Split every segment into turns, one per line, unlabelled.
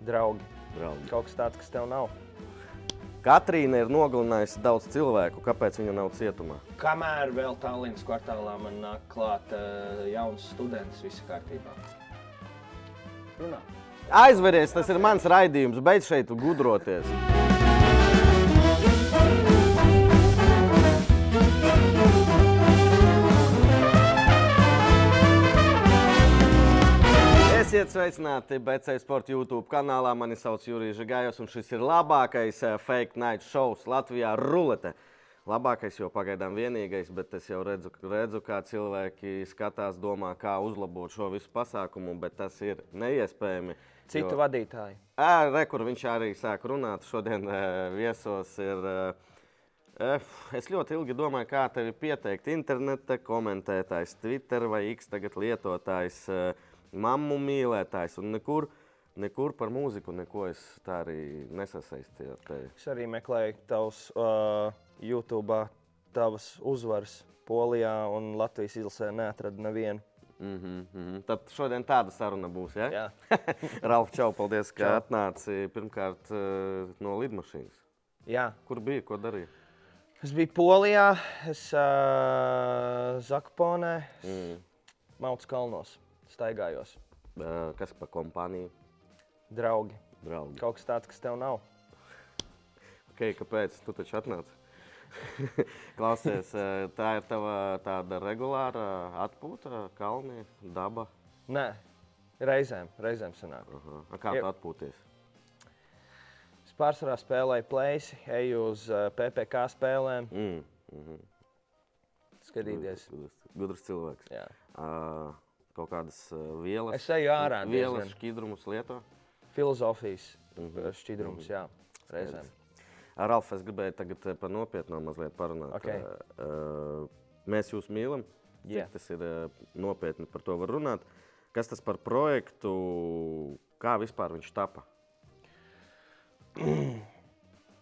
draugi.
draugi.
Kaut kas tāds, kas tev nav.
Katrīna ir nogalinājusi daudz cilvēku. Kāpēc viņa nav cietumā?
Kamēr vēl Tallinas kvartālā man nāk klāt uh, jauns students, viss kārtībā. Runā.
Aizveries, tas ir mans raidījums. Beidz šeit gudroties. Esiet sveicināti BC Sports YouTube kanālā. Mani sauc Jurijs Gājos, un šis ir labākais eh, fake night šovs Latvijā - rulete. Labākais jau pagaidām vienīgais, bet es jau redzu, redzu kā cilvēki skatās, domā, kā uzlabot šo visu pasākumu, bet tas ir neiespējami.
Citu
jo-
vadītāju.
Ā, Re, kur viņš arī sāk runāt. Šodien eh, viesos ir. eh, ef, Es ļoti ilgi domāju, kā tevi pieteikt. Interneta komentētājs, Twitter vai X tagad lietotājs, eh, mammu mīlētājs. Un nekur, nekur par mūziku neko es tā arī nesasaistīju ar tevi.
Es arī meklēju tavus uh, YouTube, tavas uzvaras Polijā un Latvijas izlasē. Neatradu nevienu.
Mm -hmm. Tad šodien tāda saruna būs. Ja?
Mhm, Jā.
Ralf, čau, paldies, ka
Čau.
atnāci pirmkārt eh, no lidmašīnas.
Jā.
Kur bija, ko darīja?
Es biju Polijā, es uh, Zakponē, mm. Mautas kalnos, staigājos.
Eh, Kas pa kompāniju?
Draugi,
Draugi.
kaut kas tāds, kas tev nav.
Okay, kāpēc? Tu taču atnāci. Klausies, eh, tā ir tava tāda regulāra atpūta, kalni, daba.
Nē, reizēm, reizēm sanāk.
Aha. A Kā
Jā.
tu atpūties?
Es pārsvarā spēlēju plēsi, eju uz uh, PPC spēlēm,
Mm.
skatīties.
Gudrs, gudrs cilvēks.
Jā.
Ā, Kaut kādas eh, vielas.
Es eju ārā
Vielas
diezgan.
šķidrumus lieto.
Filozofijas uh, šķidrums, jā, reizēm.
Ar Alfa es gribēju tagad eh, par nopietnu mazliet parunāt.
Okay.
Eh, eh, Mēs jūs mīlam.
Jā.
Cik Tas ir eh, nopietni par to var runāt. Kas tas par projektu? Kā vispār viņš tapa?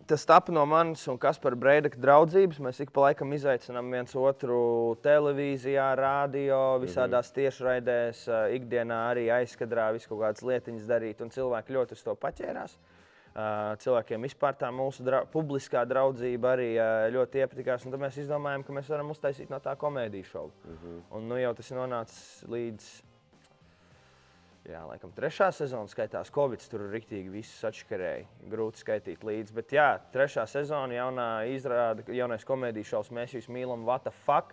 Tas tapu no manis un kas par Breidaka draudzības. Mēs ik pa laikam izaicinām viens otru televīzijā, radio, visādās tiešraidēs, eh, ikdienā arī aizkadrā, visu kaut kādas lietiņas darīt. Un cilvēki ļoti uz to paķērās. Eh, Cilvēkiem vispār tā mūsu dra publiskā draudzība arī eh, ļoti iepatikās. un Tad mēs izdomājām, ka mēs varam uztaisīt no tā komēdiju šovu. Un nu jau tas ir nonācis līdz. Jā, laikam trešā sezona skaitās. Covid tur rīktīgi viss atšķirēja. Grūti skaitīt līdzi. Bet jā, trešā sezona, jaunā izrāde, jaunais komēdijas šovs, mēs jūs mīlam, what the fuck,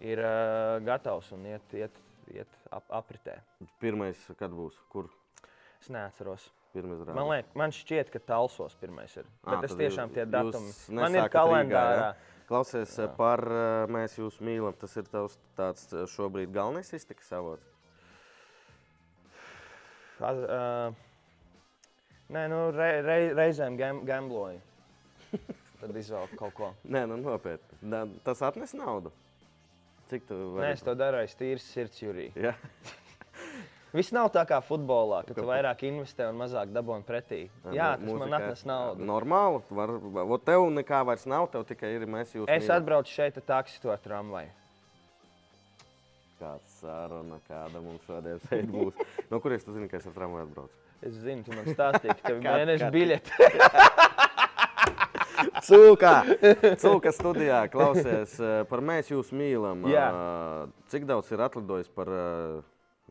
ir uh, gatavs un iet, iet, iet ap, apritē.
Pirmais, kad būs? Kur?
Es neatceros.
Pirmais rādes.
Man, liek, man šķiet, ka Talsos pirmais ir.
Ā,
Bet es
tad
tiešām tie
jūs-
datumi.
jūs
Man ir
nesākat
kalendārā.
Rīgā, ja? Klausies jā. par eh, Mēs jūs mīlam. Tas ir tavs tāds eh, šobrīd galvenais iztikas avots.
Az, uh, nē, nu re, re, reizēm gam- gambloju. Tad izvēlu kaut ko.
Nē, nu nopietni. Da- Tas atnes naudu. Cik tu
Nē,
vari?
es to daru aiz tīras sirds, Jurija.
Jā.
Viss nav tā kā futbolā, ka tu vairāk investē un mazāk dabū pretī. Jā, tas
Mūzika- nu,
man atnes naudu.
Normāli, var, vo tev nekā vairs nav, tev tikai ir mēs jūs.
Es
mīlam.
atbraucu šeit ar taksistu ar tramvaju.
Kāds saruna, kāda mums šodien šeit būs. No kurienes tu zini, ka es ar tramvaju atbraucu?
Es zinu, tu man stāstīji, ka tev ir
Kad-
mēneša
kad?
biļete.
Cūkā, Cūkā studijā klausies eh, par mēs jūs mīlam.
Jā.
Eh, Cik daudz ir atlidojis par eh,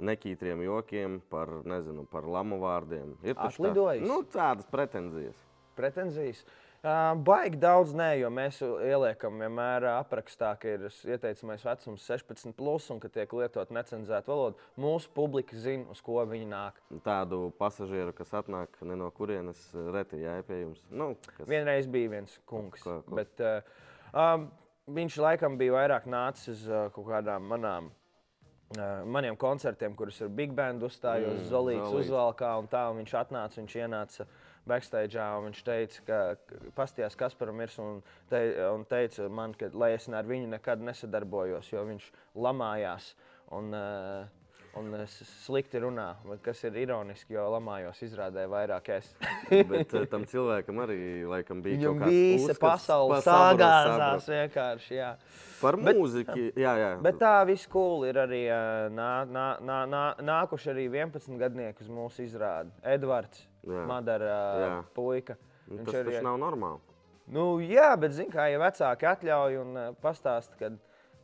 nekītriem jokiem, par, nezinu, par lamu vārdiem? Ir taču tā-
Atlidojis?
Nu, tādas pretenzijas.
Pretenzijas. Uh, baigi daudz nē, jo mēs ieliekam vienmēr ā, aprakstā, ka ir s- ieteicamais vecums 16, plus, un ka tiek lietot necenzēta valoda. Mūsu publika zina, uz ko viņi nāk.
Tādu pasažieru, kas atnāk ne no kurienes, eh, reti jāja pie jums. Nu, kas...
Vienreiz bija viens kungs.
Ko- ko?
Bet, uh, um, viņš laikam bija vairāk nācis uz uh, kaut kādām manām. uh, Maniem koncertiem, kurus ar Big Band uzstājos, mm, Zolīts
Zolīts.
uzvalkā un tā, un viņš atnāca, viņš ienāca backstage'ā, un viņš teica, ka pastījās Kasparam ir, un, te, un teica man, ka, lai es ne ar viņu nekad nesadarbojos, jo viņš lamājās un, uh, un uh, s- slikti runā, Bet kas ir ironiski, jo lamājos izrādē vairāk es.
Bet eh, tam cilvēkam arī laikam, bija
Viņam
kaut kāds
visa
uzskats
pasaule
par- saprotu,
sagāzās
saprotu.
vienkārši. Jā.
Par mūziku. Jā, jā.
Bet tā viss cool ir arī ā, nā, nā, nā, nā, nākuši arī 11 gadnieki uz mūsu izrādi. Edvards,
Jā.
Madara
Jā.
puika.
Nu,
Viņš
Tas
arī-
taču nav normāli.
Nu, jā, bet zini, kā jau vecāki atļauj un eh, pastāsta, ka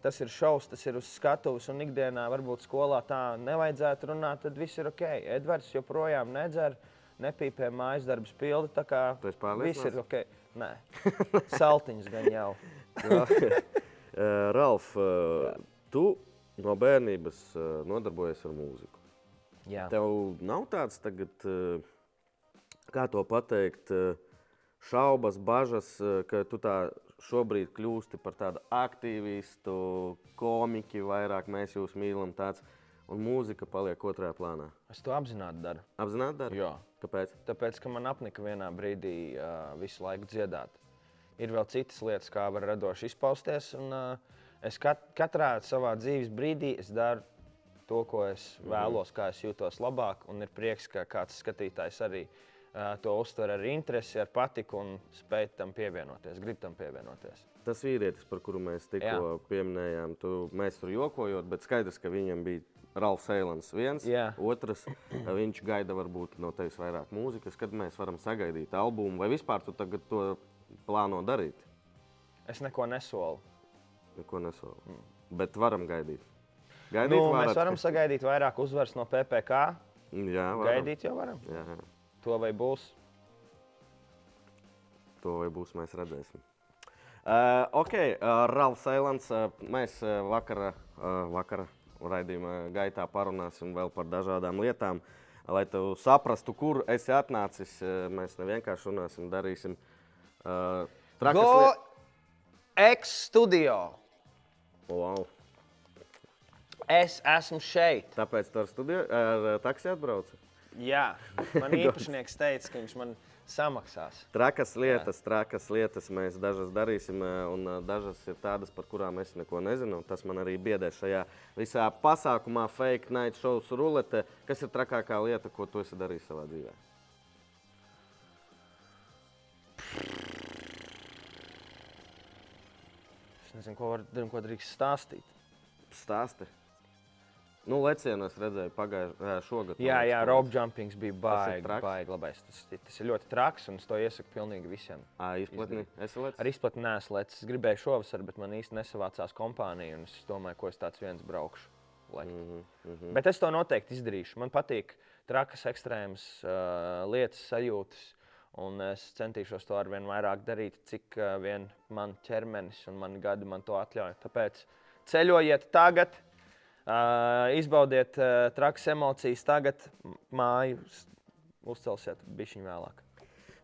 tas ir šausmas, tas ir uz skatuves, un ikdienā varbūt skolā tā nevajadzētu runāt, tad viss ir ok. Edvards joprojām nedzer, nepīpē mājas darbus pildi. Tā kā
Tu esi pārliecināts?
viss ir ok. Nē, saltiņas gan jau.
Eh, Ralf, eh, tu no bērnības eh, nodarbojies ar mūziku.
Jā.
Tev nav tāds tagad, eh, kā to pateikt, eh, šaubas, bažas, eh, ka tu tā šobrīd kļūsti par tādu aktīvistu, komiķi vairāk mēs jūs mīlam, tāds, un mūzika paliek otrajā plānā.
Es to apzināti daru.
Apzināti dara?
Jā.
Kāpēc?
Tāpēc, ka man apnika vienā brīdī uh, visu laiku dziedāt. Ir vēl citas lietas, kā var radoši izpausties. Un, uh, es kat katrā savā dzīves brīdī es daru to, ko es vēlos, kā es jūtos labāk. Un ir prieks, ka kāds skatītājs arī uh, to uztver ar interesi, ar patiku un spēj tam pievienoties, grib tam pievienoties.
Tas vīrietis, par kuru mēs tikko pieminējām, tu, mēs tur jokojot, bet skaidrs, ka viņam bija Ralfs Eilans viens,
Jā.
otrs. Viņš gaida varbūt no tevis vairāk mūzikas, kad mēs varam sagaidīt albumu, vai vispār tu tagad to plāno darīt?
Es neko nesolu.
Neko nesolu. Bet varam gaidīt.
Mm.
Gaidīt
Nu,
varat.
mēs varam sagaidīt vairāk uzvaras no PPC.
Jā, varam.
Gaidīt jau varam.
Jā, jā.
To vai būs.
To vai būs, mēs redzēsim. Uh, ok, uh, Ralfs Eilants, uh, mēs uh, vakara, uh, vakara raidījuma gaitā parunāsim vēl par dažādām lietām. Lai tu saprastu, kur esi atnācis, uh, mēs nevienkārši runāsim, darīsim uh, trakas
Go
lietas.
X studio!
Wow.
Es esmu šeit.
Tāpēc tu ar, studiju, ar uh, taksi atbrauci.
Jā, man īpašnieks teica, ka viņš man samaksās.
Trakas lietas, trakas lietas mēs dažas darīsim, eh, un eh, dažas ir tādas, par kurām es neko nezinu. un Tas man arī biedē šajā visā pasākumā, fake night shows rulete. Kas ir trakākā lieta, ko tu esi darījis savā dzīvē?
Es nezinu, ko, var, ko drīkst stāstīt.
Stāsti. Nu, lecienos redzēju pagājušā šogad. man
Jā,
liekas,
jā,
ka
rope jumpings bija
ir
baigi.
traks?
baigi labais. Tas, tas ir ļoti traks, un es to iesaku pilnīgi visiem.
mēs- Ā, Izplatni. Es
Ar
lecu.
izplatni nesu lecis. Es gribēju šovasar, bet man īsti nesavācās kompānija, un es domāju, ko es tāds viens braukšu. Mm -hmm, mm -hmm. Bet es to noteikti izdarīšu. Man patīk trakas, ekstrēmas uh, lietas, sajūtas. Un es centīšos to ar vien vairāk darīt, cik uh, vien man ķermenis un man gadi man to atļauj. Tāpēc ceļojiet tagad, uh, izbaudiet uh, trakas emocijas tagad, m- māju s- uzcelsiet bišķiņu vēlāk.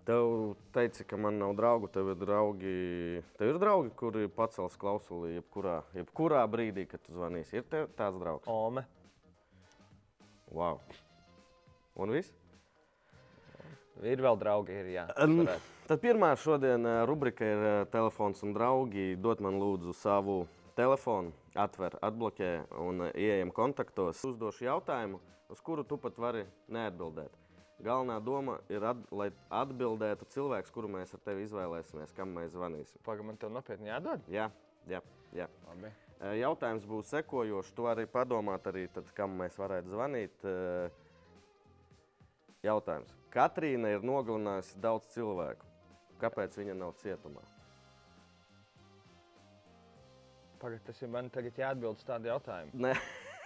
Tev teica, ka man nav draugu. Tev ir draugi, tev ir draugi kuri pacels klausuli jebkurā, jebkurā brīdī, kad tu zvanīsi. Ir tev tāds draugs.
Ome,
Wow. Un viss?
ir vēl draugi, ir jā.
Um,
varētu.
Tad pirmā šodienas rubrika ir eh, telefons un draugi. Dod man lūdzu savu telefonu, atver, atbloķē un eh, ieejam kontaktos. Uzdošu jautājumu, uz kuru tu pat vari neatbildēt. Galvenā doma ir, at, lai atbildētu cilvēks, kuru mēs ar tevi izvēlēsimies, kam mēs zvanīsim.
Pagaidām, man tev nopietni jādod.
Jā, jā, jā.
Labi.
Eh, Jautājums būs sekojošs. Tu arī padomāt, arī tad, kam mēs varētu zvanīt. Eh, Jautājums. Katrīna ir nogalinājusi daudz cilvēku. Kāpēc viņa nav cietumā?
Pagaid, tas ir man tagad jāatbild uz tādu jautājumu.
Nē,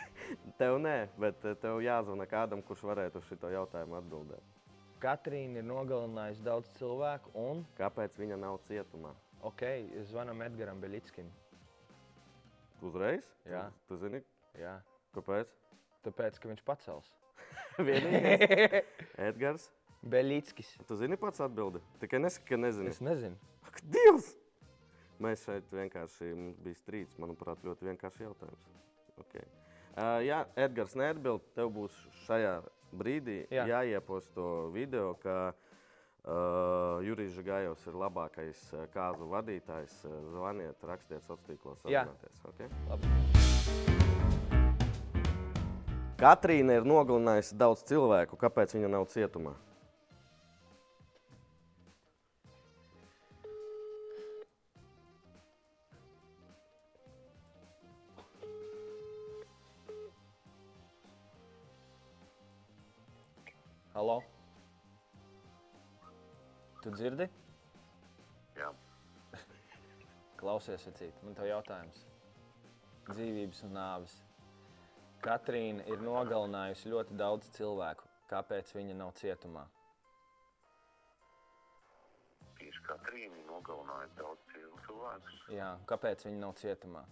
tev nē, bet eh, tev jāzvana kādam, kurš varētu uz šo jautājumu atbildēt.
Katrīna ir nogalinājusi daudz cilvēku, un
Kāpēc viņa nav cietumā?
ok, zvanam Edgars Beļģiskim.
Uzreiz?
Jā.
Tu, tu zini, kāpēc?
Tāpēc, ka viņš pacels.
Vienīgais. Edgars,
Beļģiskis.
tu zini pats atbildi. Tikai nesaki, ka nezini.
Es nezinu.
Ak, Dievs! Mēs šeit vienkārši mums bija strīds, manuprāt, ļoti vienkāršs jautājums. Okay. Uh, jā, Edgars, neatbild, tev būs šajā brīdī jā.
Jā.
jāieposto video, ka uh, Jurijs Gājovs ir labākais uh, kāzu vadītājs. Uh, Zvaniet, rakstiet, sociālos tīklos,
Jā.
apmainīties. Okay?
Labi.
Katrīna ir nogalinājusi daudz cilvēku. Kāpēc viņa nav cietumā?
Halo?
Tu dzirdi?
Jā.
Klausies, Vecīt, man te ir jautājums. Dzīvības un nāves. Katrīna ir nogalinājusi ļoti daudz cilvēku. Kāpēc viņa nav cietumā?
Tieši Katrīna nogalināja daudz cilvēku.
Jā, kāpēc viņa nav cietumā?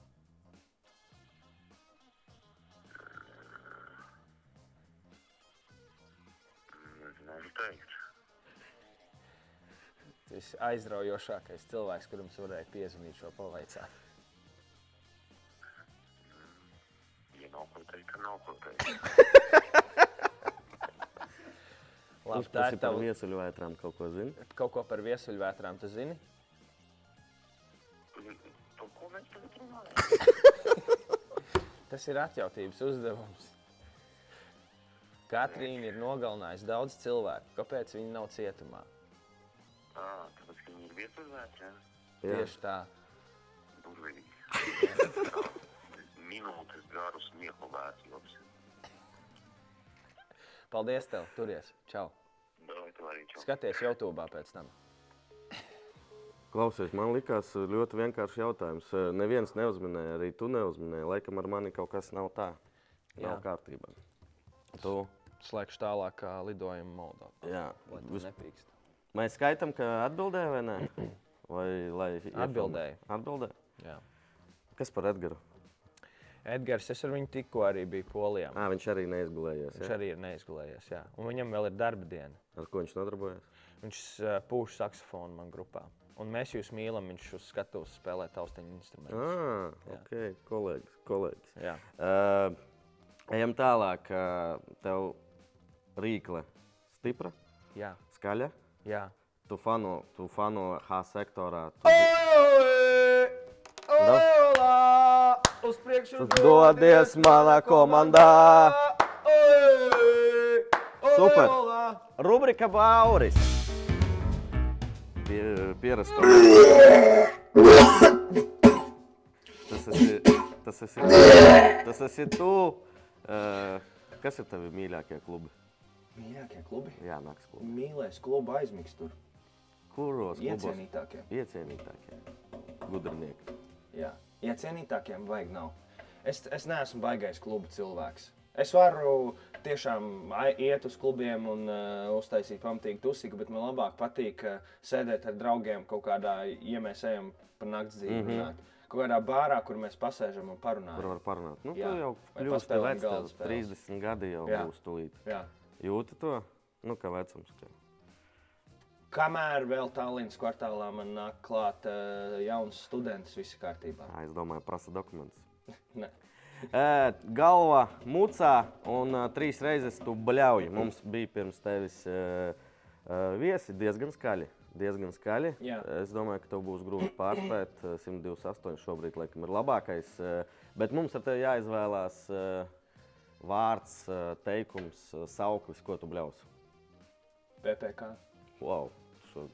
Nezinu teikt.
Tas ir aizraujošākais cilvēks, kuram es varēju piezvanīt šo pavaicāju.
Ja nav ko teikt, tad nav ko teikt.
Tas
Labi, tā
ir
ir
par
tava
viesuļvētrām kaut ko zina.
kaut ko par viesuļvētrām, tu zini?
Par ko mēs tagad runājam?
Tas ir atjautības uzdevums. Katrīna ir nogalinājusi daudz cilvēku. Kāpēc viņa nav cietumā?
Ā, tāpēc, ka viņi ir vietuzēti, jā?
Jā.
Tieši tā.
Burvīgi. Minūtes garu smieku vērtības.
Paldies, tev. Turies. Čau.
Davai tev arī čau.
Skaties YouTube pēc tam.
Klausies, man likās eh, ļoti vienkāršs jautājums. Eh, Neviens neuzminēja, arī tu neuzminēji. Laikam ar mani kaut kas nav tā. Nav
Jā.
kārtībā. Tu.
Slēgšu tālāk uh, lidojumu Moldovā.
Jā.
Lai tu
Vis-
nepīkst.
Mēs skaitām, ka atbildēja vai nē? Vai, lai
Atbildēja.
Atbildēja.
Jā.
Kas par Edgara?
Edgars, es ar viņu tikko arī biju Polijā.
Ah, viņš arī neizgulējies.
Viņš
Ja?
arī ir neizgulējies. Jā. Un viņam vēl ir darba diena.
Ar ko viņš nodarbojas?
Viņš uh, pūš saksofonu manā grupā. Un mēs jūs mīlam, viņš uz skatuves spēlē taustiņu instrumentu.
Ah,
Jā.
ok, kolēģis. kolēģis.
Jā,
Uh, ejam tālāk. Uh, tev rīkle stipra,
jā,
skaļa.
jā.
Tu fano, tu fano H sektorā. Tu,
E!
zi-
Nu?
Da-
Uz priekšu!
tu dodies manā komandā! Super. Rubrika Bauris. Pie, pierasta. Tas esi, tas esi, tas esi tu. Uh, kas ir tavi mīļākie klubi?
Mīļākie klubi.
Jā, naktas klubi.
Mīlēs klubu aizmigstur.
Kuros klubos?
Iecienītākie.
Iecienītākie. Gudrinieki.
Jā, iecienītākiem vajag nav. Es, es neesmu baigais klubu cilvēks. Es varu tiešām ai- iet uz klubiem un uh, uztaisīt pamatīgi tusiku, bet man labāk patīk uh, sēdēt ar draugiem kaut kādā, ja mēs ejam pa naktas dzīvi,
Mhm.
mm -hmm. kaut kādā bārā, kur mēs pasēžam un
Kur
parunājam.
var parunāt? Nu, tu
Jā.
jau
Vai
kļūsti
paspēlējam
vecs, tev
galda spēles?
30 gadi jau
Jā.
būs tūlīt.
Jā.
Jūti to? Nu, kā vecums. Ka...
Kamēr vēl Tallinas kvartālā man nāk klāt uh, jauns students, viss ir kārtībā.
Ā, Es domāju, prasa dokumentus.
Ne.
Ē, galva mucā un ā, trīs reizes tu bļauji. Mums bija pirms tevis ē, ā, viesi diezgan skaļi. Diezgan skaļi.
Jā.
Es domāju, ka tev būs grūti pārspēt. ā, 128 šobrīd laikam, ir labākais. ā, Bet mums ar tevi jāizvēlās ā, vārds, ā, teikums, ā, sauklis, ko tu bļaus.
PPK.
Wow, šo,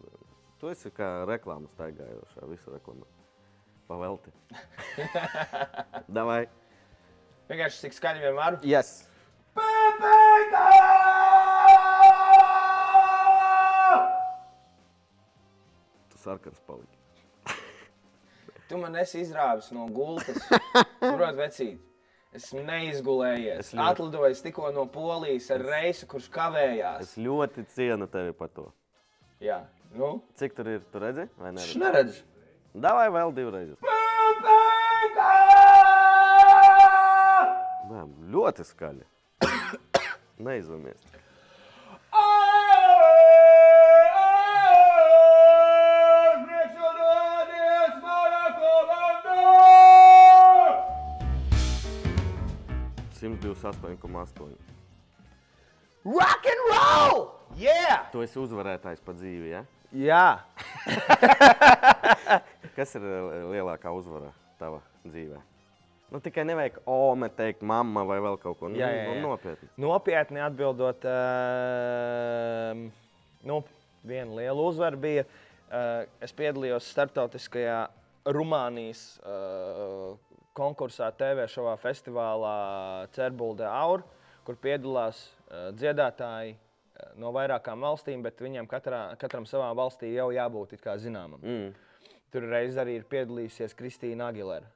tu esi kā reklāmas taigājošā, visu reklāmu. Pavelti. Davai.
Vienkārši cik skaļi vien varu.
Yes. Tu sarkans paliki.
Tu man esi izrāvis no gultas. Protams, vecīt. Es neizgulējies.
Es
Es
ļoti-
atlidoju tikko no Polijas ar reisu, kurš kavējās.
Es ļoti cienu tevi par to.
Jā, nu,
Cik tur ir? Tu redzi? Vai
es
neredzi?
neredzu.
Davai vēl divreiz. Nē, ļoti skaļi. Neizvamies. 128,8.
Wow! Rock and roll! Yeah!
Tu esi uzvarētājs pa dzīvi, ja?
Jā,
Kas ir eh, lielākā uzvara tavā dzīvē? Nu, tikai nevajag ome teikt, mamma vai vēl kaut ko nu,
jā, jā, jā.
nu, nopietnu.
Nopietni atbildot, ehm, nu, viena liela uzvara bija. eh, Es piedalījos starptautiskajā Rumānijas eh, konkursā, TV šovā festivālā Cerbulda Aura, kur piedalās eh, dziedātāji no vairākām valstīm, bet viņiem katrā, katram savā valstī jau jābūt it kā zināmam.
Mm.
Tur reiz arī ir piedalījusies Kristīna Agilera. Ā,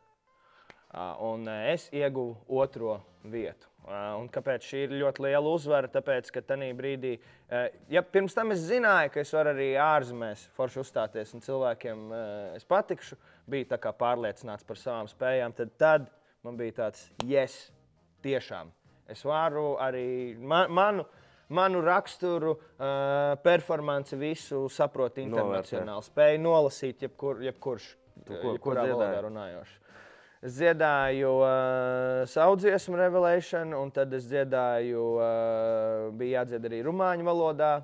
Ah, Un ā, es ieguvu otro vietu. Ā, Un kāpēc šī ir ļoti liela uzvara? Tāpēc, ka tajā brīdī, ā, ja pirms tam es zināju, ka es varu arī ārzemēs forši uzstāties un cilvēkiem ā, es patikšu, biju tā kā pārliecināts par savām spējām, tad, tad man bija tāds, yes, tiešām. Es varu arī ma manu, manu raksturu, ā, performanci, visu saprotu
Novērtē.
internacionāli. Spēju nolasīt jebkur, jebkurš,
Tu ko- ko
jebkurā valodā
dziedāji?
runājošs. Es dziedāju uh, savu dziesmu, Revelation, un tad es dziedāju, uh, bija jādzied arī rumāņu valodā.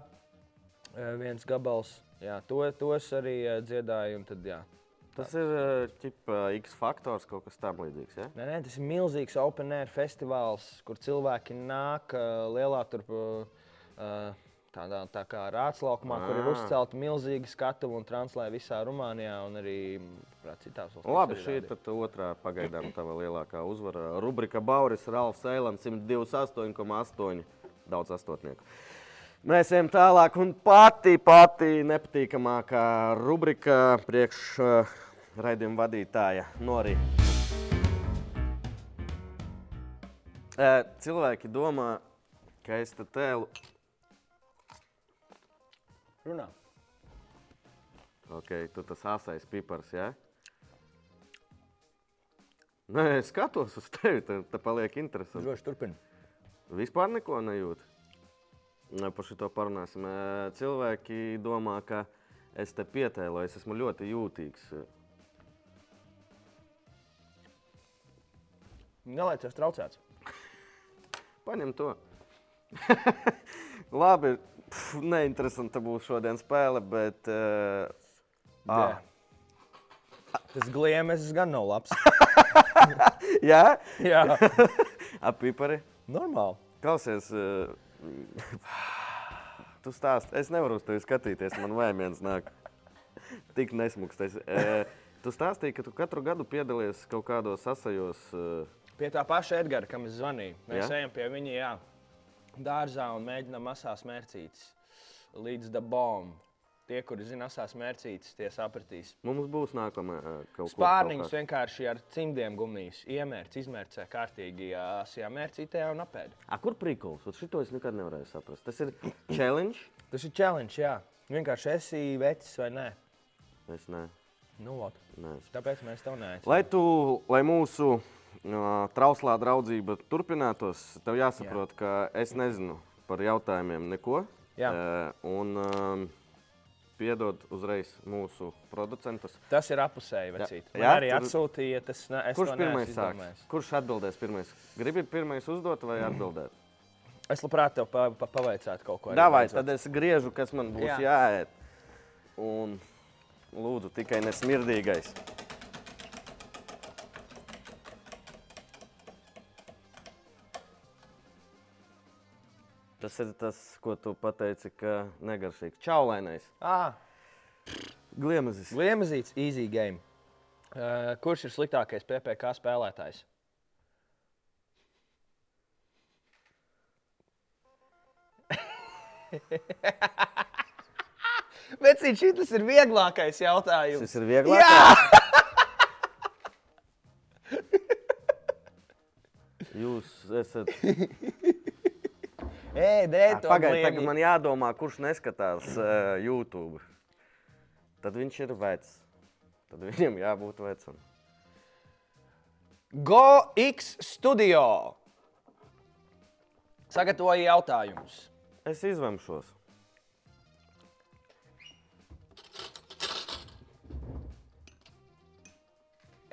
Uh, viens gabals, jā, to, tos arī uh, dziedāju. un Tad, jā.
Tas ir eh, ķipa X faktors, kaut kas tam līdzīgs. Ja?
nē, nē, tas ir milzīgs open air festivāls, kur cilvēki nāk uh, lielā tur. Uh, Tādā tā kā rāclaukumā, kur ir
Ā.
uzcelta milzīga skatuve un translēta visā Rumānijā un arī mm, prāt, citās valstīs.
Labi,
arī
šī ir
rādīja.
tad otrā pagaidām tava lielākā uzvara. Rubrika Bauris, Ralfs Eilans, 128,8. Daudz astotnieku. Mēs ejam tālāk, un pati, pati nepatīkamākā rubrika priekš uh, raidījuma vadītāja Norija. Uh, cilvēki domā, ka es te tēlu.
Runā.
Ok, tu tas asais pipars, jā? Ja? Nē, Nu, es skatos uz tevi, tad tā paliek interesanti.
Droši turpini.
Vispār neko nejūt. Ne, Par šo parunāsim. Ē, Cilvēki domā, ka es te pietēloju, es esmu ļoti jūtīgs.
Nelaicies traucēts.
Paņem to. Labi, pf, neinteresanta būs šodien spēle, bet... Uh,
Ā. Tas gliemežs gan nav labs.
jā,
Jā,
ap pipari.
normāli.
Klausies, eh, tu stāst, es nevaru uz tevi skatīties, man vēmiens nāk. Tik nesmugs. tas. Eh, Tu stāstīji, ka tu katru gadu piedalies kaut kādos asajos. eh,
Pie tā paša Edgara, kam es zvanīju,
Jā?
mēs jā? ejam pie viņa jā, dārzā un mēģinām asās mērcītes līdz dabām. Tie, kuri zina asās mērcītes, tie sapratīs.
Mums būs nākamā eh, kaut kas
Spārniņus vienkārši ar cimdiem gumijas iemērc, izmērcē kārtīgi asajā mērcītē un apēd.
A, kur priklis? Šo es nekad nevarēju saprast. Tas ir challenge.
Tas ir challenge, jā. Vienkārši esi vecis vai nē.
Es ne,
Nu, vot.
neesmu.
Tāpēc mēs tev neaicinām.
Lai, tu, lai mūsu uh, trauslā draudzība turpinātos, tev jāsaprot, Jā. ka es nezinu par jautājumiem neko.
Jā.
Uh, un um, piedod uzreiz mūsu producentus.
Tas ir apusēji vecīt. Jā,
Jā,
arī
tur-
atsūtīja. Tas, ne, es
Kurš
to neesmu
pirmais sāks?
izdomājis.
Kurš atbildēs pirmais? Gribi pirmais uzdot vai atbildēt?
Es labprāt tev pa, pa, pavaicātu kaut ko. arī
Davai,
beidzot.
tad es griežu, kas man būs Jā.
Jā.
jāēd. Un lūdzu, tikai nesmirdīgais. Tas ir tas, ko tu pateici, ka negaršīgs. Čaulainais,
Ā,
gliemezis.
Liemazīts, easy game. Uh, kurš ir sliktākais PPC spēlētājs? Vecīt, šis ir vieglākais jautājums.
Šis ir vieglāk. Jūs esat.
Ej, dēļ, to
Pagaidiet, tagad
gliemi.
man jādomā, kurš neskatās uh, YouTube. Tad viņš ir vecs. Tad viņam jābūt vecam.
GoX Studio. Sagatavoju jautājumus.
Es izvemšos.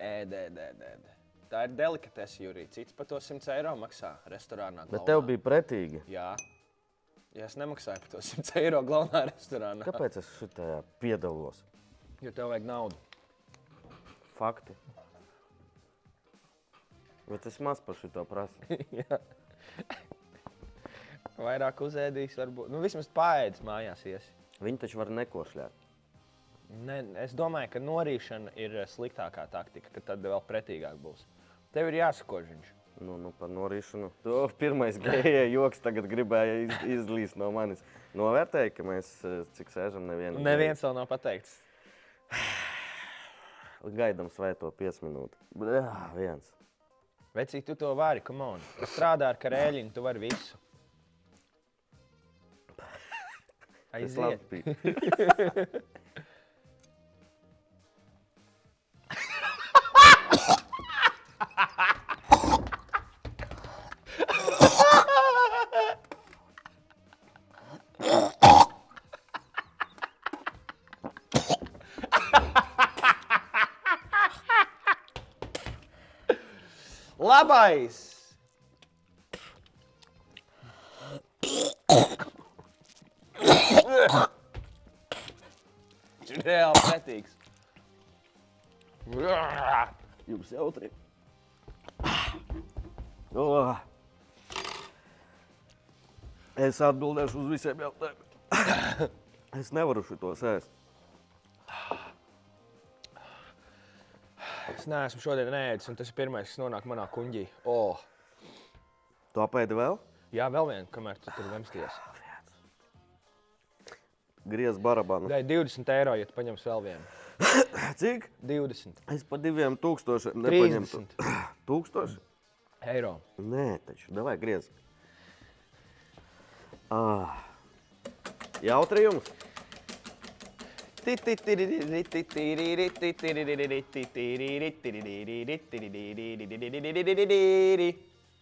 Ēd, ēd, ēd, ēd. Tā ir delikatese, Jurija. Cits par to 100 eiro maksā restorānā.
Bet
Glaunā.
tev bija pretīgi.
Jā, ja es nemaksāju par to 100 eiro galvenā restorānā.
Kāpēc es šitajā piedalos?
Jo tev vajag naudu.
Fakti. Bet es maz par šito prasu.
Vairāk uzēdīs, varbūt. Nu, vismaz pāriņķis mājās ies.
Viņi taču var nekošļāt.
Ne, es domāju, ka norīšana ir eh, sliktākā taktika, ka tad vēl pretīgāk būs. Tev ir jāsakož viņš.
Nu, nu, par norīšanu. To pirmais gēja joks tagad gribēja iz, izlīst no manis. Novērtēji, ka mēs eh, cik sēžam nevienu.
Neviens vēl nav pateikts.
Gaidām svēto 5 minūti. Jā, viens.
Vecīt, tu to vari, kam on. Strādā ar karēļinu, tu vari visu.
Tas
Aiziet.
labi bija.
Labais! Viņš ir Reāli pretīgs.
Jums jautri. Oh. Es atbildēšu uz visiem jautājumiem. Es nevaru šo sēst.
Es neesmu šodien ēdis, un tas ir pirmais, kas nonāk manā kuģī. Oh.
Tu apēdi vēl?
Jā, vēl viena, kamēr tu tur lemsties.
Griez barabanu.
Dai 20 eiro, ja tu paņemsi vēl vienu.
Cik?
20,
Es pa diviem tūkstošiem nepaņemtu.
30
Tūkstoši?
eiro.
Nē, taču, davai griez. Ah. Jautri jums?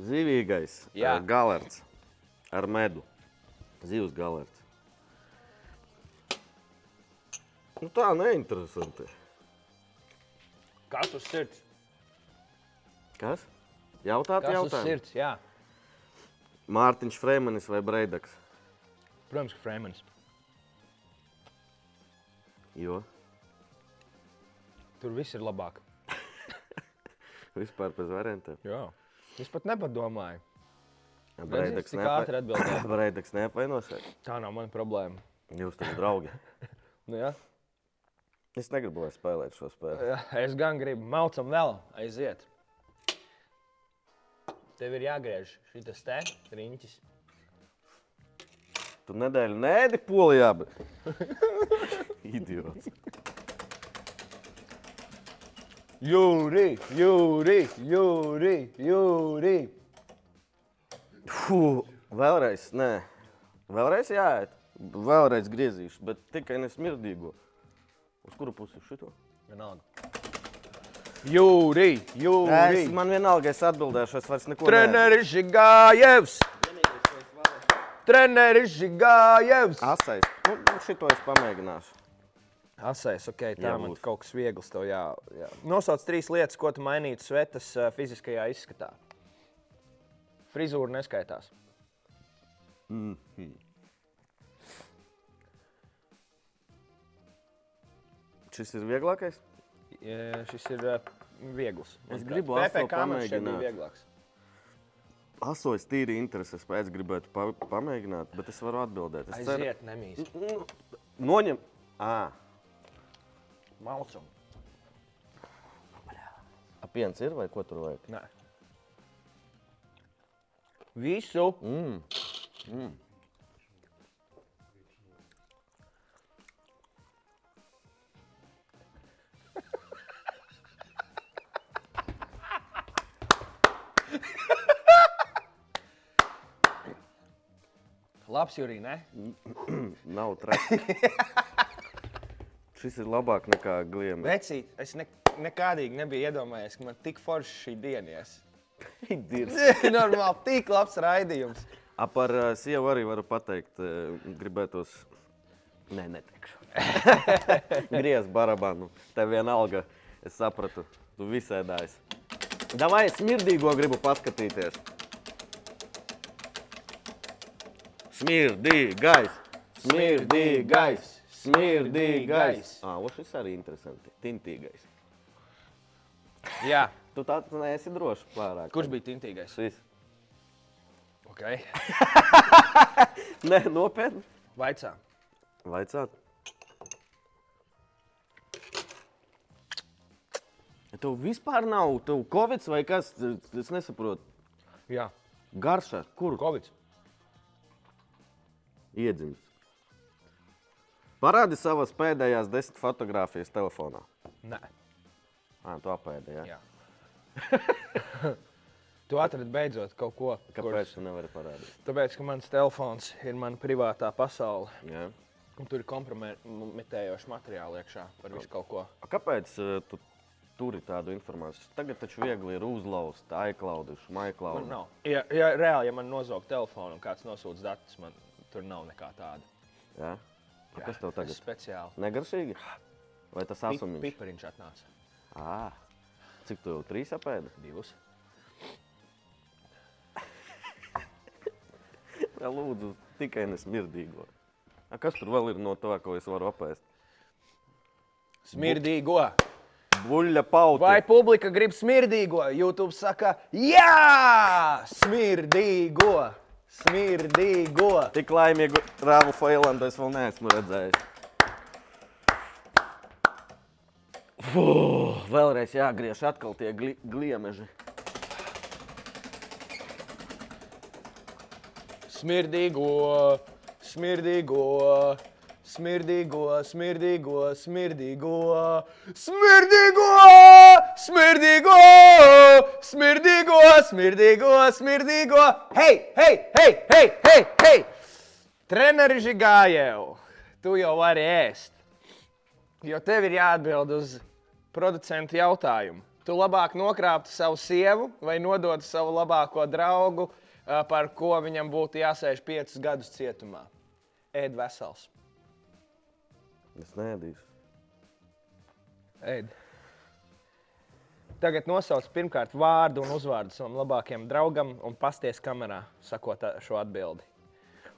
Zivīgais
Jā.
eh, galerts ar medu. Zivs galerts. Nu tā neinteresanti.
Kas uz sirds?
Kas? Jautāt
Kas uz
jautājumu?
sirds? Jā,
Mārtiņš Freimanis vai Breidaks?
protams, ka Freemans.
Jo
Tur viss ir labāk.
vispār bez variantiem.
Jā. Es pat nepadomāju.
Breidaks
cik
neapa-
ātri atbildēji.
Breidaks neapvainosies.
Tā nav mana problēma.
Jūs esat draugi.
Nu, jā.
Es negribu, lai spēlētu šo spēli.
Jā, Es gan gribu, maucam vēl, aiziet. Tev ir jāgriež šis te riņķis.
Tu nedēļu nēdi polijā. Bet... Idiots.
Jūri, jūri, jūri, jūri.
Fū, vēlreiz, nē, vēlreiz jāiet. Vēlreiz griezīšu, bet tikai nesmirdīgo. Uz kuru pusi šito?
Vienalga. Jūri, jūri.
Es, man vienalga, es atbildēšu, es vairs neko nedaru.
Treneris Žigājevs! Treneris Žigājevs!
Asais. Nu, nu, šito es pamēģināšu.
Asais, ok, tā
Jā,
man
būs.
kaut kas viegls. Tev, jā, jā. Nosauc trīs lietas, ko tu mainītu svetas ā, fiziskajā izskatā. Frizūra neskaitās.
Šis ir vieglākais.
E, Šis ir ā, viegls.
Es
manuprāt.
gribu aso
PPK man šeit bija
pamēģināt.
vieglāks.
Asojas tīri intereses pēc gribētu pa pamēģināt, bet es varu atbildēt. Es ceru,
Aiziet, nemīst.
noņem. Ā,
Malcum.
apiens ir vai ko tur vajag?
Nē. Visu. Mm. Labs jūrī, ne?
Nav traki. Šis ir labāk nekā gliemežs.
Vecīt, es ne, nekādīgi nebiju iedomājies, ka man tik forši šī diena ies. Normāli, tik labs raidījums.
A, Par uh, sievu arī varu pateikt, uh, gribētos. Nē, neteikšu. Griez barabanu. Tev vienalga, es sapratu, tu visēdājies. Davai, smirdīgo gribu paskatīties. Smirdīgais! Smirdīgais! Smirdīgais! Ah, o šis arī interesanti. Tintīgais.
Jā,
Tu tāds neesi drošs pārāk.
kurš bija tintīgais?
Šis.
Okay.
Nē, nopietni.
Vaicā.
Vaicāt? Tev vispār nav, tev covid vai kas? Es nesaprotu.
Jā,
Garša, kur
Covid.
iedziņas? Parādi savas pēdējās desmit fotogrāfijas telefonā.
Nē,
Ah, tu apēdi, jā.
jā. tu atradi beidzot kaut ko.
Kāpēc tu nevari parādīt?
Tāpēc, ka mans telefons ir mana privātā pasaule.
Jā.
Un tur ir kompromitējoši materiāli iekšā par visu kaut ko.
A Kāpēc eh, tu turi tādu informāciju? Tagad taču viegli ir uzlauzt iCloud,
Tur
MyCloud.
nav. Ja, ja, reāli, ja man nozog telefonu un kāds nosūta datus, man tur nav nekā tāda.
Jā? A Kas tev
Tas
tagad?
ir speciāli.
Negaršīgi? Vai tas
Pi-
asumiņš?
Pipariņš atnāca.
Ā, Cik tu jau trīs apēdi?
Divus.
Jā, lūdzu, tikai nesmirdīgo. A, kas tur vēl ir no tā, ko es varu apēst?
Smirdīgo!
Buļļa pauta.
Vai publika grib smirdīgo? YouTube saka, jā, smirdīgo, smirdīgo.
Tik laimīgu rāmu Failandu es vēl neesmu redzējis. Fuh, vēlreiz jāgriež atkal tie gli gliemeži.
Smirdīgo, smirdīgo, smirdīgo, smirdīgo, smirdīgo, smirdīgo, smirdīgo, smirdīgo, smirdīgo, smirdīgo. Hei, hei, hei, hei, hei, hei! Treneri Žigājēv, tu jau vari ēst, jo tev ir jāatbild uz producentu jautājumu. Tu labāk nokrāptu savu sievu vai nodotu savu labāko draugu, eh, par ko viņam būtu jāsēž piecus gadus cietumā. Ēd vesels.
Es nedīšu.
Ēd. Tagad nosauc pirmkārt vārdu un uzvārdu savam labākajam draugam un pasties kamerā, sakot ā, šo atbildi.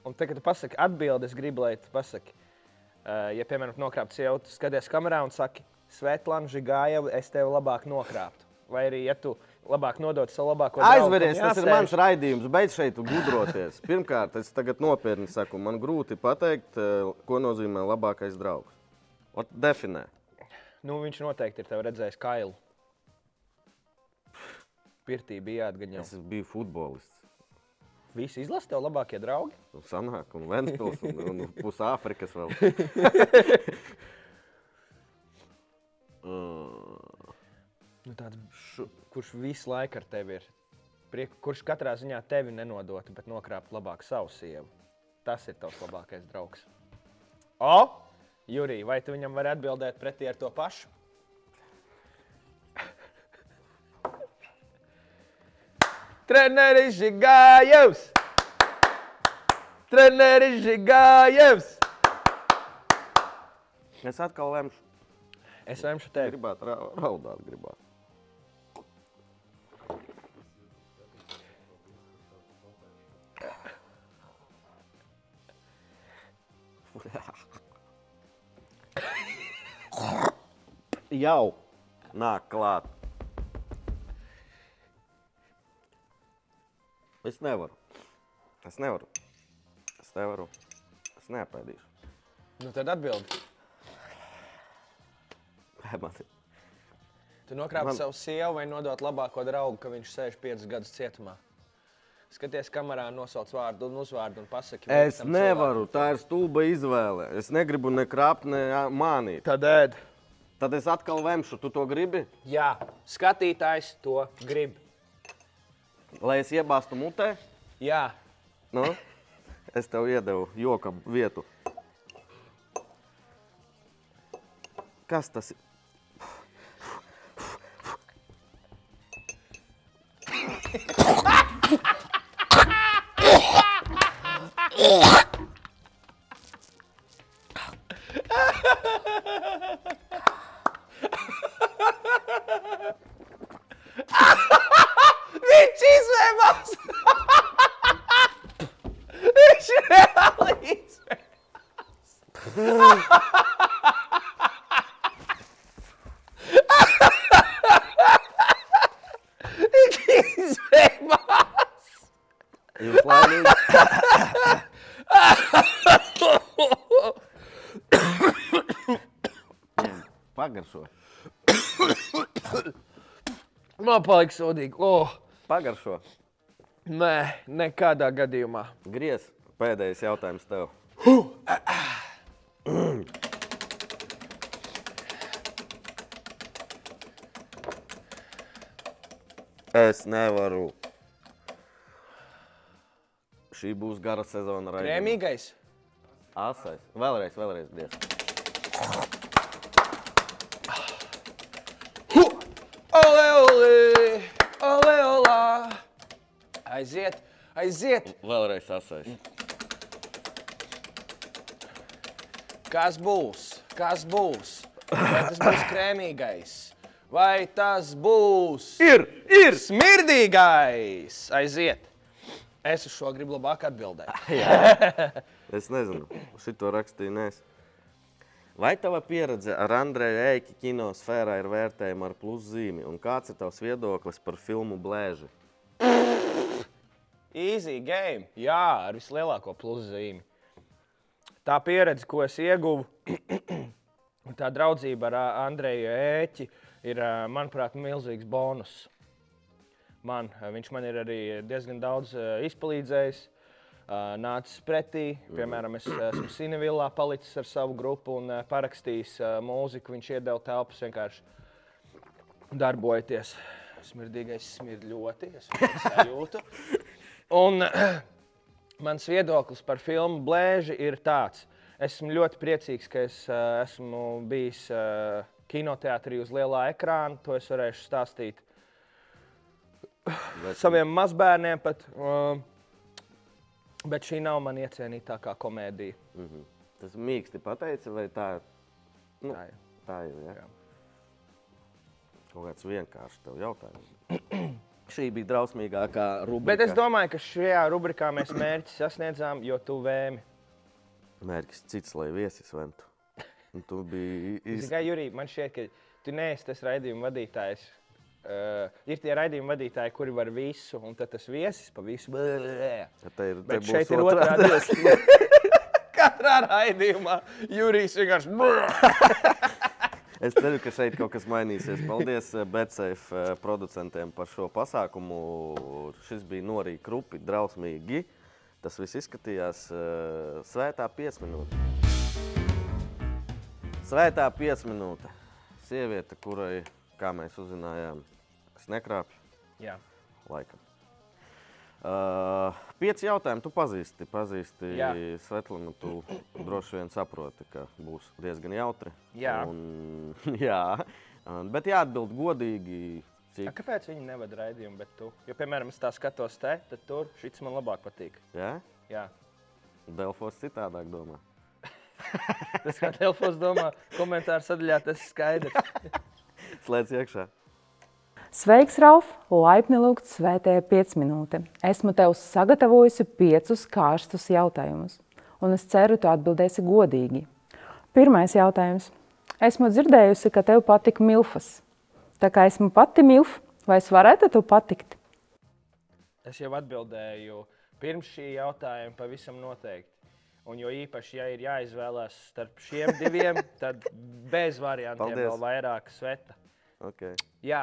Un tagad, kad tu pasaki atbildi, es gribu, lai tu pasaki, eh, ja, piemēram, nokrāpts jau, tu skaties kamerā un saki, Svetlana, Žigājeva, es tevi labāk nokrāptu. Vai arī, ja tu labāk nodod savu labāko draugu,
Aizveries,
kam
tas ir
jāsēž.
mans raidījums. Beidz šeit gudroties. Pirmkārt, es tagad nopietni saku, man grūti pateikt, eh, ko nozīmē labākais draugs. Ot, definē.
Nu, viņš noteikti ir tev redzējis kailu. Pirtī bija jāatgaņo.
Es biju futbolists.
Visi izlasa tev labākie draugi.
Un sanāk, un Ventspils, un, un pus Āfrikas vēl. Uh,
Nu, tāds, šu- kurš visu laiku ar tevi ir? Priek, kurš katrā ziņā tevi nenodotu, bet nokrāptu labāk savu sievu. Tas ir tavs labākais draugs. O, Jurija, vai tu viņam vari atbildēt pretī ar to pašu? Treneris Žigājevs! Treneris Žigājevs!
Es atkal lemšu.
Es lemšu tevi.
Gribētu ra raudāt, gribētu. Jau nāk klāt. Es nevaru. Es nevaru. Es nevaru. Es neapēdīšu.
Nu, tad atbildi.
Man ir
Tu
Man-
nokrāpi Man... savu sievu vai nodot labāko draugu, ka viņš sēž 5 gadus cietumā. Skaties, kamerā nosauc vārdu un uzvārdu un pasaki. vai
Es
tam
nevaru, tā ir stulba izvēle. Es negribu ne krāpt, ne ā, mānīt.
cilvēkam. Tad ēd.
Tad es atkal lemšu, tu to gribi,
Jā, skatītājs to grib.
lai es iebāztu mutē.
Jā,
Nu? Es tev iedevu joka vietu. Kas tas ir?
viņš izvēlējās! viņš reāli izvēlējās! viņš izvēlējās!
Jūs laimīgi? Pagaršo.
Man palika sodīgi. Oh.
Pagaršo.
Nē, nekādā gadījumā.
Griez, pēdējais jautājums tev. Es nevaru. Šī būs gara sezona. raidījums.
Prēmīgais.
Asais. Vēlreiz, vēlreiz. Griez.
Ole, ole, ole, ole. Aiziet, aiziet.
Vēlreiz asais.
Kas būs? Kas būs? Vai tas būs krēmīgais? Vai tas būs?
Ir, ir!
Smirdīgais! Aiziet! Es uz šo gribu labāk atbildēt.
Es nezinu, šito rakstīju nes. Vai tava pieredze ar Andreju Eiki kinosfērā ir vērtējama ar pluszīmi? Un kāds ir tavs viedoklis par filmu Blēži?
Easy game. Jā, ar vislielāko pluszīmi. Tā pieredze, ko es ieguvu, un tā draudzība ar ā, Andreju Ēķi, ir, ā, manuprāt, milzīgs bonus. Man, ā, viņš man ir arī diezgan daudz ā, izpalīdzējis. ā, Nācis pretī, piemēram, es esmu Sinevillā palicis ar savu grupu un ā, parakstījis ā, mūziku. Viņš iedeva telpas vienkārši darbojoties. Smirdīgais smird ļoti, es to sajūtu. Un mans viedoklis par filmu Blēži ir tāds. Esmu ļoti priecīgs, ka es uh, esmu bijis uh, kinoteātrī uz lielā ekrāna. To es varēšu stāstīt saviem mazbērniem. Pat, uh, bet šī nav man iecienītākā komēdija.
Mhm. Tas mīksti pateici, vai tā, nu,
Tā ir.
tā ir? Ja?
Jā.
Kaut kāds vienkāršs tev jautājums. Šī bija drausmīgākā rubrika.
Bet es domāju, ka šajā rubrikā mēs mērķi sasniedzām, jo tu vēmi.
Mērķis cits, lai viesis vemtu. Un tu biji iz...
Tikai Jurī, man šķiet, ka tu neesi tas raidījuma vadītājs. Uh, ir tie raidījuma vadītāji, kuri var visu, un tad tas viesis pa visu. blē.
Tā ir, te
Bet
būs
šeit ir
otrā
otrā
daļa.
daļa. Katrā raidījumā Jurijs vienkārši brrr.
Es ceru, ka šeit kaut kas mainīsies. Paldies Betseif producentiem par šo pasākumu. Šis bija norī krupi, drausmīgi. Tas viss izskatījās eh, svētā piesminūte. Svētā piesminūte. Sieviete, kurai, kā mēs uzzinājām, es nekrāpju
Jā.
laikam. Uh, pieci jautājumi. Tu pazīsti, pazīsti
Jā.
Svetlinu. Tu droši vien saproti, ka būs diezgan jautri.
Jā.
Un, jā. Un, bet jāatbild godīgi.
A,
Cik,
kāpēc viņi nevada raidījumu, bet tu? Jo, piemēram, es tā skatos te, tad tur šis man labāk patīk.
jā?
Jā.
Delfos citādāk domā.
Tas kā telefons domā, komentāru sadaļā tas ir skaidrs.
Slēdz iekšā.
Sveiks, Rauf! Laipni lūgts svētajā 5 minūte. Esmu tev sagatavojusi piecus kārstus jautājumus, un es ceru, tu atbildēsi godīgi. Pirmais jautājums. Esmu dzirdējusi, ka tev patīk milfas. Tā kā esmu pati milf, vai es varētu tev patikt?
Es jau atbildēju pirms šī jautājuma, pavisam noteikti. Un jo īpaši, ja ir jāizvēlās starp šiem diviem, tad bez variantiem
Paldies.
vēl vairāk sveta.
Okay.
Jā,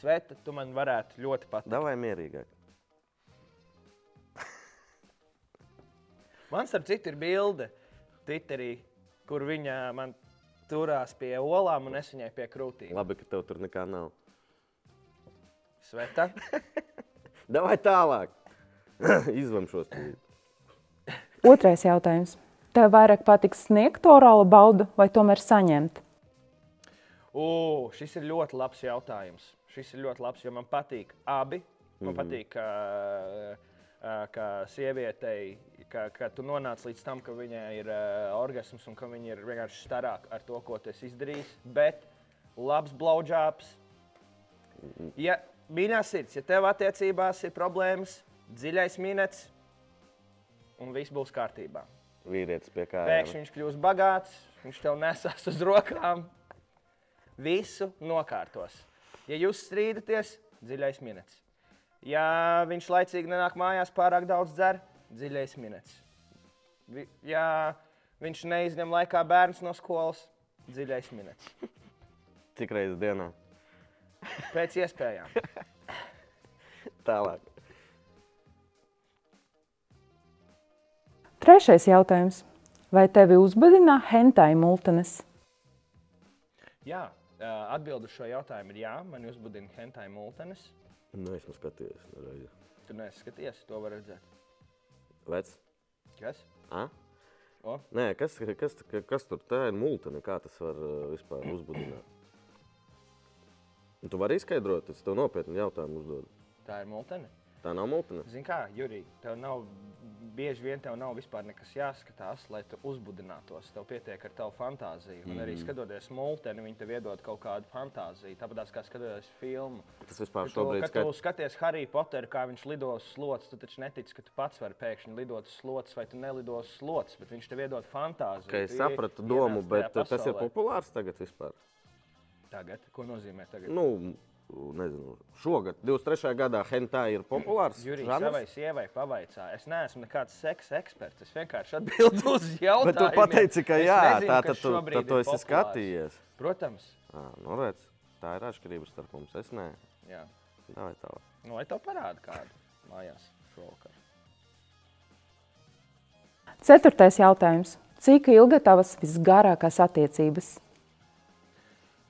sveta, tu man varētu ļoti patikt.
Davai mierīgāk.
Man starp citu ir bilde Twitterī, kur viņa man turās pie olām un es viņai pie krūtīm.
Labi, ka tev tur nekā nav.
Sveta,
Davai tālāk. Izvemšos. tūlīt.
Otrais jautājums. Tev vairāk patīk sniegt orālu baudu vai tomēr saņemt?
Ugh, šis ir ļoti labs jautājums. Šis ir ļoti labs, jo man patīk abi. Man mm -hmm. patīk, ka, ā, ka sievietei, ka, ka tu nonāc līdz tam, ka viņai ir ā, orgasms un ka viņa ir vienkārši starāka ar to, ko tu esi izdarījis. Bet labs blowjobs. Ja, Mīļā sirds, ja tev attiecībās ir problēmas, dziļais minēts un viss būs kārtībā.
Vīrietis pie kā.
Pēkšņi viņš kļūst bagāts, viņš tev nesās uz rokām. Visu nokārtos. Ja jūs strīdaties, dziļais minēts. Ja viņš laicīgi nenāk mājās, pārāk daudz dzer, dziļais minēts. Vi- Ja viņš neizņem laikā bērns no skolas, dziļais minēts.
Cik reizes dienā?
Pēc iespējām.
Tālāk.
Trešais jautājums. Vai tevi uzbudina hentai multenes?
Jā, atbildi uz šo jautājumu ir jā. Man uzbudina hentai multenes.
Nu, es skatos, redzu.
Tur neskaties, to var redzēt.
Vecs.
Kas?
A?
O.
Nē, kas, kas, kas tur tā ir multene? Kā tas var eh, vispār uzbudināt? Nu, Tu vari izskaidrot, tas tev nopietni jautājumu uzdod.
Tā ir multene.
Tā nav nu. multene.
Zini, kā Jurija, tev nav bieži vien tev nav vispār nekas jāskatās, lai tu uzbudinātos. Tev pietiek ar tavu fantāziju. Un
Mhm.
arī skatoties multeni, viņi tev iedod kaut kādu fantāziju. Tāpat tās, kā skatoties filmu.
Tas vispār
Tu,
šobrīd
kad skat... tu
skat...
skaties Harry Potteru, kā viņš lido uz slots, tu taču netici, ka tu pats vari pēkšņi lidot uz slots, vai tu nelido uz slots, bet viņš tev iedod fantāziju.
ka es
Tu ie-
sapratu
ienāc
domu,
tajā
bet eh, tas ir
pasaulē.
populārs tagad vispār.
Tagad, ko nozīmē tagad?
Nu, nezinu, šogad, 23. gadā Hentā ir populārs.
Jurijs
žanrs.
savai sievai pavaicāja. Es neesmu nekāds seksa eksperts. Es vienkārši atbildēju uz jautājumu.
Bet tu pateici, ka jā, tā tad tu, tad tu esi
esi
skatījies.
Protams,
Ā, nu redz, tā ir atšķirība starp mums. Es nē,
jā.
tā ir tālāk.
Nu, lai tev parāda kādu mājās šovakar.
Ceturtais jautājums. Cik ilga tavas visgarākās attiecības?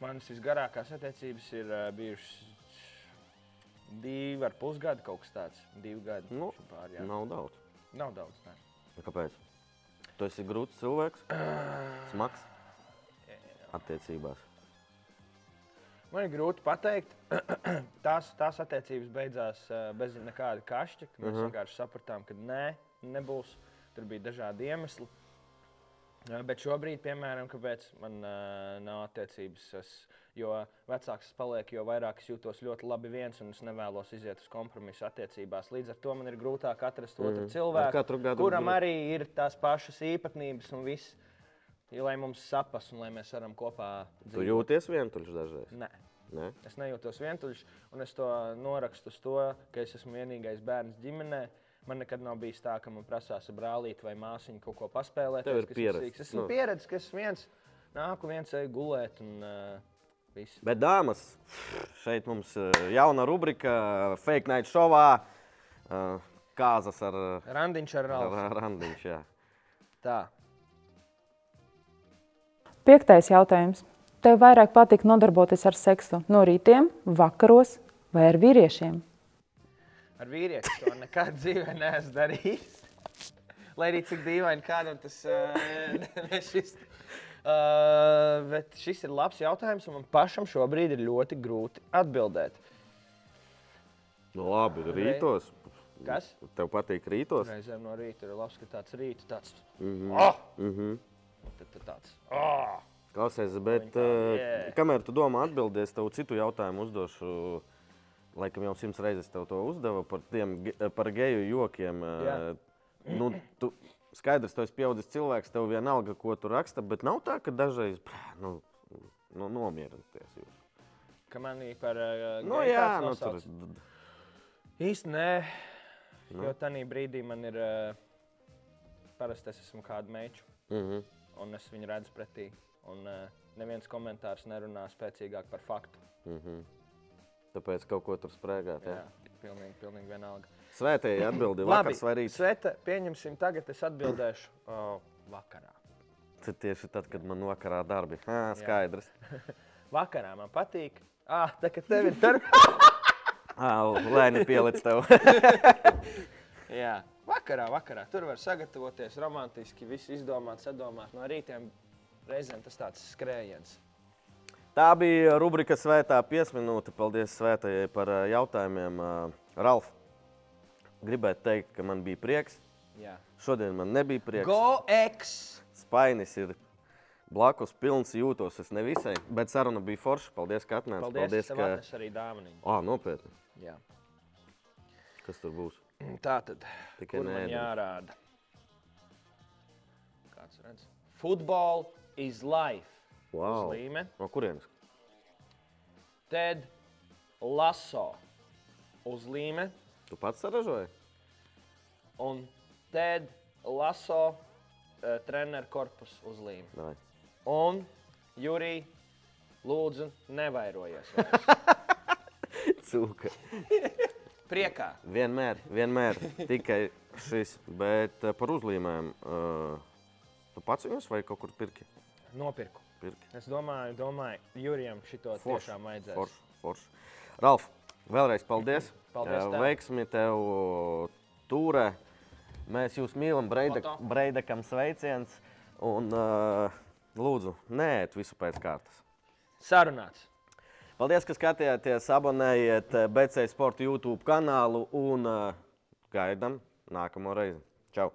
Manas visgarākās attiecības ir uh, bijušas divi ar pusgadu kaut kas tāds. Divi gadi.
Nu,
šim pār, jā.
Nav daudz.
Nav daudz. Ne.
Kāpēc? Tu esi grūts cilvēks, smags attiecībās.
Man ir grūti pateikt. tās, tās attiecības beidzās eh, bez nekāda kašķa. ka
Mhm.
Mēs uh -huh. vienkārši sapratām, ka nē, nebūs. Tur bija dažādi iemesli. Eh, Bet šobrīd, piemēram, kāpēc man uh, nav attiecības, es, jo vecāks es palieku, jo vairāk es jūtos ļoti labi viens un es nevēlos iziet uz kompromisu attiecībās. Līdz ar to man ir grūtāk atrast mm. otru cilvēku,
Mhm. katru gadu
kuram
grūti.
arī ir tās pašas īpatnības un viss, Ja, lai mums saprast un lai mēs varam kopā
Tu jūties vientuļš dažreiz.
Nē.
Nē?
Es nejūtos vientuļš, un es to norakstu uz to, ka es esmu vienīgais bērns ģimenē. Man nekad nav bijis tā, ka man prasās brālīt vai māsiņu kaut ko paspēlēt.
Tev ir pieredze,
Es esmu
nu.
pieredzējis, ka es viens nāku viens eju gulēt. Un, uh, viss.
Bet, dāmas, šeit mums ir jauna rubrika eh, Fake Night šovā. eh, Kāzas ar eh,
Randiņš ar
ar-
Rālu.
ar randiņš. jā.
Tā.
Piektais jautājums. Tev vairāk patīk nodarboties ar seksu no rītiem, vakaros vai ar vīriešiem?
Ar vīrieti to nekad dzīvē neesmu darījis. Lai arī cik dīvaini kādam tas uh, šis. Uh, bet šis ir labs jautājums, un man pašam šobrīd ir ļoti grūti atbildēt.
Nu, labi, rītos.
Kas?
Tev patīk rītos?
Reizēm no rīta ir labs, ka tāds rīts tāds -
Mhm.
ah! Tad tu tāds - ah!
Klausies, bet
Viņkārši,
eh,
jē.
kamēr tu domā atbildēs, tev citu jautājumu uzdošu. Laikam jau simts reizes tev to uzdeva par, tiem, ge- eh, par geju jokiem. eh,
Jā.
Nu, tu, skaidrs, tu esi pieaudzis cilvēks, tev vienalga, ko tu raksta, bet nav tā, ka dažreiz pā, nu, nu, nomierinieties. jūs.
Ka manī par uh,
Nu, jā, nu, tur d-
Īsti nē,
Nu.
jo tajā brīdī man ir. Uh, parasti es esmu kādu meču,
Mhm.
un es viņu redzu pretī. Un uh, neviens komentārs nerunā spēcīgāk par faktu.
tāpēc kaut ko tur sprēgāt.
Jā,
Jā.
pilnīgi, pilnīgi vienalga.
Svētēji atbildi vakars vai rīts.
Sveta, pieņemsim, tagad es atbildēšu uh, vakarā.
Tu Tieši tad, kad man vakarā darbi. Ā, skaidrs.
Vakarā man patīk. Ah, tā kā tev ir darbs.
Ā, Lēni nu pielic tev.
Jā, vakarā, vakarā tur var sagatavoties romantiski, visu izdomāt, sadomāt no rīta. Reizēm tas tāds skrējiens.
Tā bija rubrika Svētā piesminūte. Paldies Svētajai par ā, jautājumiem. Ā, Ralf, gribētu teikt, ka man bija prieks.
Jā,
Šodien man nebija prieks.
go ex!
Spainis ir blakus, pilns jūtos. Es nevisai, bet saruna bija forša. Paldies, ka atnācāt.
Paldies, Paldies ka
ka...
atnesi arī dāmaniņu.
Ā, nopietni.
Jā.
Kas tur būs?
Tā tad,
Tikai
kur man
neēdams.
jārāda? Kāds redz? Football is life.
Vau.
Slīme.
No kurienes?
Ted Lasso uz līme
Tu pats saražoji?
un Ted Lasso uh, treneru korpus uz līme.
Davai.
Un, Jurija, lūdzu, nevairojies.
Cūka.
Priekā.
Vienmēr, vienmēr tikai šis. Bet eh, par uzlīmēm. eh, Tu pats viņus vai kaut kur pirki?
Nopirku.
pirki?
Es domāju, domāju Jurijam šito
Forši,
tiešām vajadzēs.
Forši, forši. Ralf, vēlreiz paldies.
Paldies
Jā,
tev.
Veiksmi tev tūrē. Mēs jūs mīlam, Breidak,
Foto.
Breidakam sveiciens. Un uh, lūdzu, nē, visu pēc kārtas.
Sarunāts.
Paldies, ka skatījāties, abonējiet eh, BC Sports YouTube kanālu un uh, gaidām nākamo reizi. Čau!